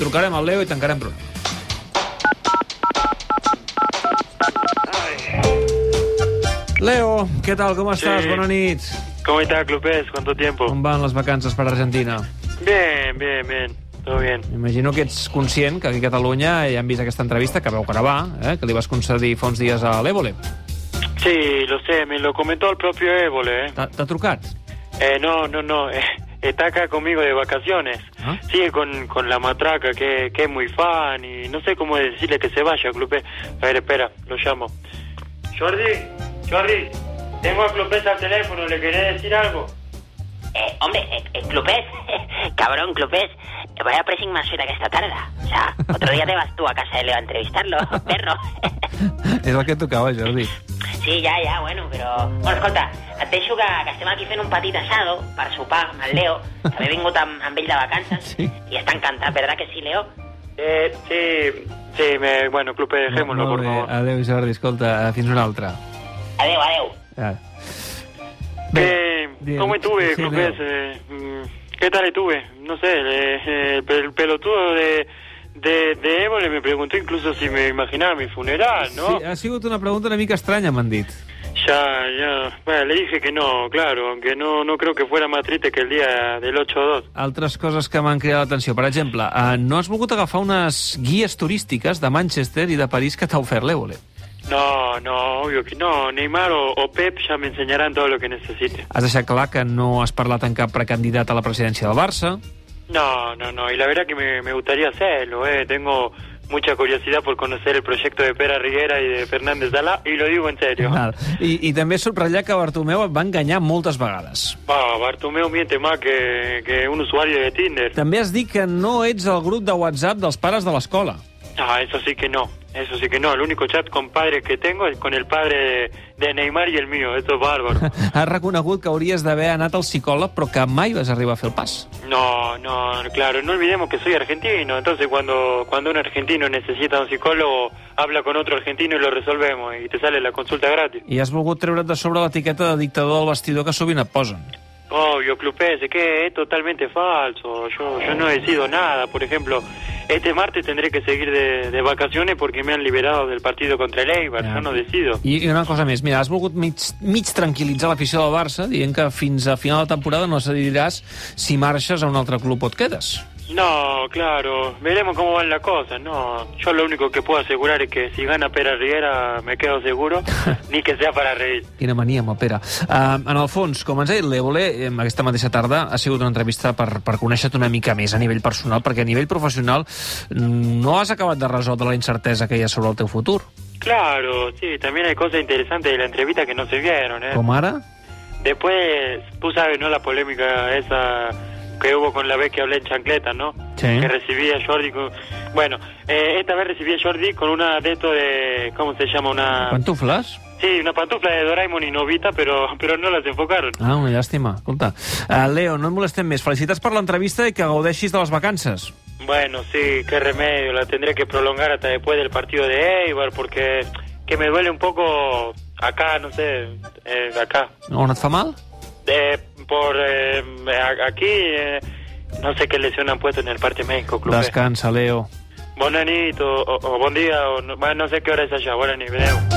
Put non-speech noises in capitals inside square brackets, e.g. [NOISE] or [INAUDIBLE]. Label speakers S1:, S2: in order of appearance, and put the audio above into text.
S1: Trucarem al Leo i tancarem programa. Leo, què tal, com estàs?
S2: Sí.
S1: Bona nit.
S2: ¿Cómo está, Clupés? ¿Cuánto tiempo?
S1: Com van les vacances per Argentina?
S2: Bien, bien, bien. Todo bien.
S1: Imagino que ets conscient que aquí a Catalunya ja hem vist aquesta entrevista que vau gravar, eh, que li vas concedir fa uns dies a l'Évole.
S2: Sí, lo sé, me lo comentó el propio Évole. ¿eh?
S1: T'ha t'ha trucat?
S2: Eh, no, no, no. eh, está acá conmigo de vacaciones.
S1: ¿Ah?
S2: Sigue con, con la matraca, que, que es muy fan y no sé cómo decirle que se vaya, Clupés. A ver, espera, lo llamo. Jordi, Jordi, tengo a Clupés al teléfono, ¿le querés decir algo?
S3: Eh, hombre, eh, eh, Clopés, [LAUGHS] cabrón, Clopés, vaya pressing más fina que esta tarda. O sea, otro día te vas tú a casa de Leo a entrevistarlo, [LAUGHS] perro.
S1: [LAUGHS] És el que tocava, Jordi.
S3: sí, ja, ja, bueno, però... Bueno, escolta, et deixo que, que estem aquí fent un petit assado per sopar amb el Leo, que m'he vingut amb, amb ell de vacances,
S1: Sí.
S3: i està encantat, verdad que sí, Leo?
S2: Eh, sí, sí, me, bueno, Clupés, dejémoslo,
S1: Molt
S2: por
S1: bé.
S2: favor.
S1: Adéu, Jordi. Escolta, eh, fins una altra.
S3: Adeu, adeu.
S1: Ja.
S2: Eh,
S1: digue'm.
S2: ¿Cómo estuve,
S1: Sí,
S2: Clupés?
S1: Leo.
S2: Eh, mm, ¿Qué tal estuve? No sé, eh, eh, el pelotudo de, de, de Évole me preguntó incluso si me imaginaba mi funeral, ¿no?
S1: Sí, ah. ha sigut una pregunta una mica estranya, m'han dit.
S2: Ya, ya. Bueno, le dije que no, claro, aunque no, no creo que fuera más triste que el día del 8-2.
S1: Altres coses que m'han cridat l'atenció. Per exemple, eh, no has volgut agafar unes guies turístiques de Manchester i de París que t'ha ofert l'Evole.
S2: No, no, obvio que no. Neymar o, o Pep ya me enseñarán todo lo que necesite.
S1: Has deixat clar que no has parlat amb cap precandidat a la presidència del Barça.
S2: No, no, no. Y la verdad que me, me gustaría hacerlo, ¿eh? Tengo mucha curiosidad por conocer el proyecto de Pera Riguera y de Fernández Dala, y lo digo en serio.
S1: Nada. I, I també subratllar que Bartomeu et va enganyar moltes vegades.
S2: Ah, Bartomeu miente más que, que un usuario de Tinder.
S1: També has dit que no ets el grup de WhatsApp dels pares de l'escola.
S2: Ah, eso sí que no. Eso sí que no. El único chat con padres que tengo es con el padre de, de Neymar y el mío. Esto es bárbaro.
S1: Has reconegut que hauries d'haver anat al psicòleg, però que mai vas arribar a fer el pas.
S2: No, no, claro. No olvidemos que soy argentino. Entonces, cuando, cuando un argentino necesita un psicólogo, habla con otro argentino y lo resolvemos. Y te sale la consulta gratis.
S1: I has volgut treure't de sobre l'etiqueta de dictador del vestidor que sovint et posen.
S2: Obvio, Clupés, es que es totalmente falso. Yo, yo no he decidido nada. Por ejemplo, este martes tendré que seguir de, de vacaciones porque me han liberado del partido contra el Eibar.
S1: Ya.
S2: Yo no decido.
S1: I, I una cosa més, mira, has volgut mig, mig tranquil·litzar l'afició del Barça dient que fins a final de temporada no decidiràs si marxes a un altre club o et quedes.
S2: No, claro, veremos cómo van las cosas, no. Yo lo único que puedo asegurar es que si gana Pera Riera me quedo seguro, ni que sea para reír.
S1: Quina mania amb el Pere. Uh, en el fons, com ens ha dit l'Evole, eh, aquesta mateixa tarda ha sigut una entrevista per, per conèixer-te una mica més a nivell personal, perquè a nivell professional mm, no has acabat de resoldre la incertesa que hi ha sobre el teu futur.
S2: Claro, sí, también hay cosas interesantes de la entrevista que no se vieron, ¿eh?
S1: Com ara?
S2: Después, tú sabes, ¿no? La polémica esa que hubo con la vez que hablé en chancleta, ¿no?
S1: Sí.
S2: Que recibí a Jordi con... Bueno, eh, esta vez recibí a Jordi con una de esto de... ¿Cómo se llama? Una...
S1: Pantufles?
S2: Sí, una pantufla de Doraemon y Novita, però, però no las enfocaron.
S1: Ah, una llàstima. Escolta, uh, Leo, no et molestem més. Felicitats per l'entrevista i que gaudeixis de les vacances.
S2: Bueno, sí, qué remedio, la tendré que prolongar hasta después del partido de Eibar porque que me duele un poco acá, no sé, eh, acá.
S1: On et fa mal?
S2: Eh, por eh, a- aquí, eh, no sé qué lesión han puesto en el parte médico,
S1: E.
S2: club.
S1: Descansa, Leo.
S2: Bonanito, o, o buen día, o no, bueno, no sé qué hora es allá, bueno, ni veo.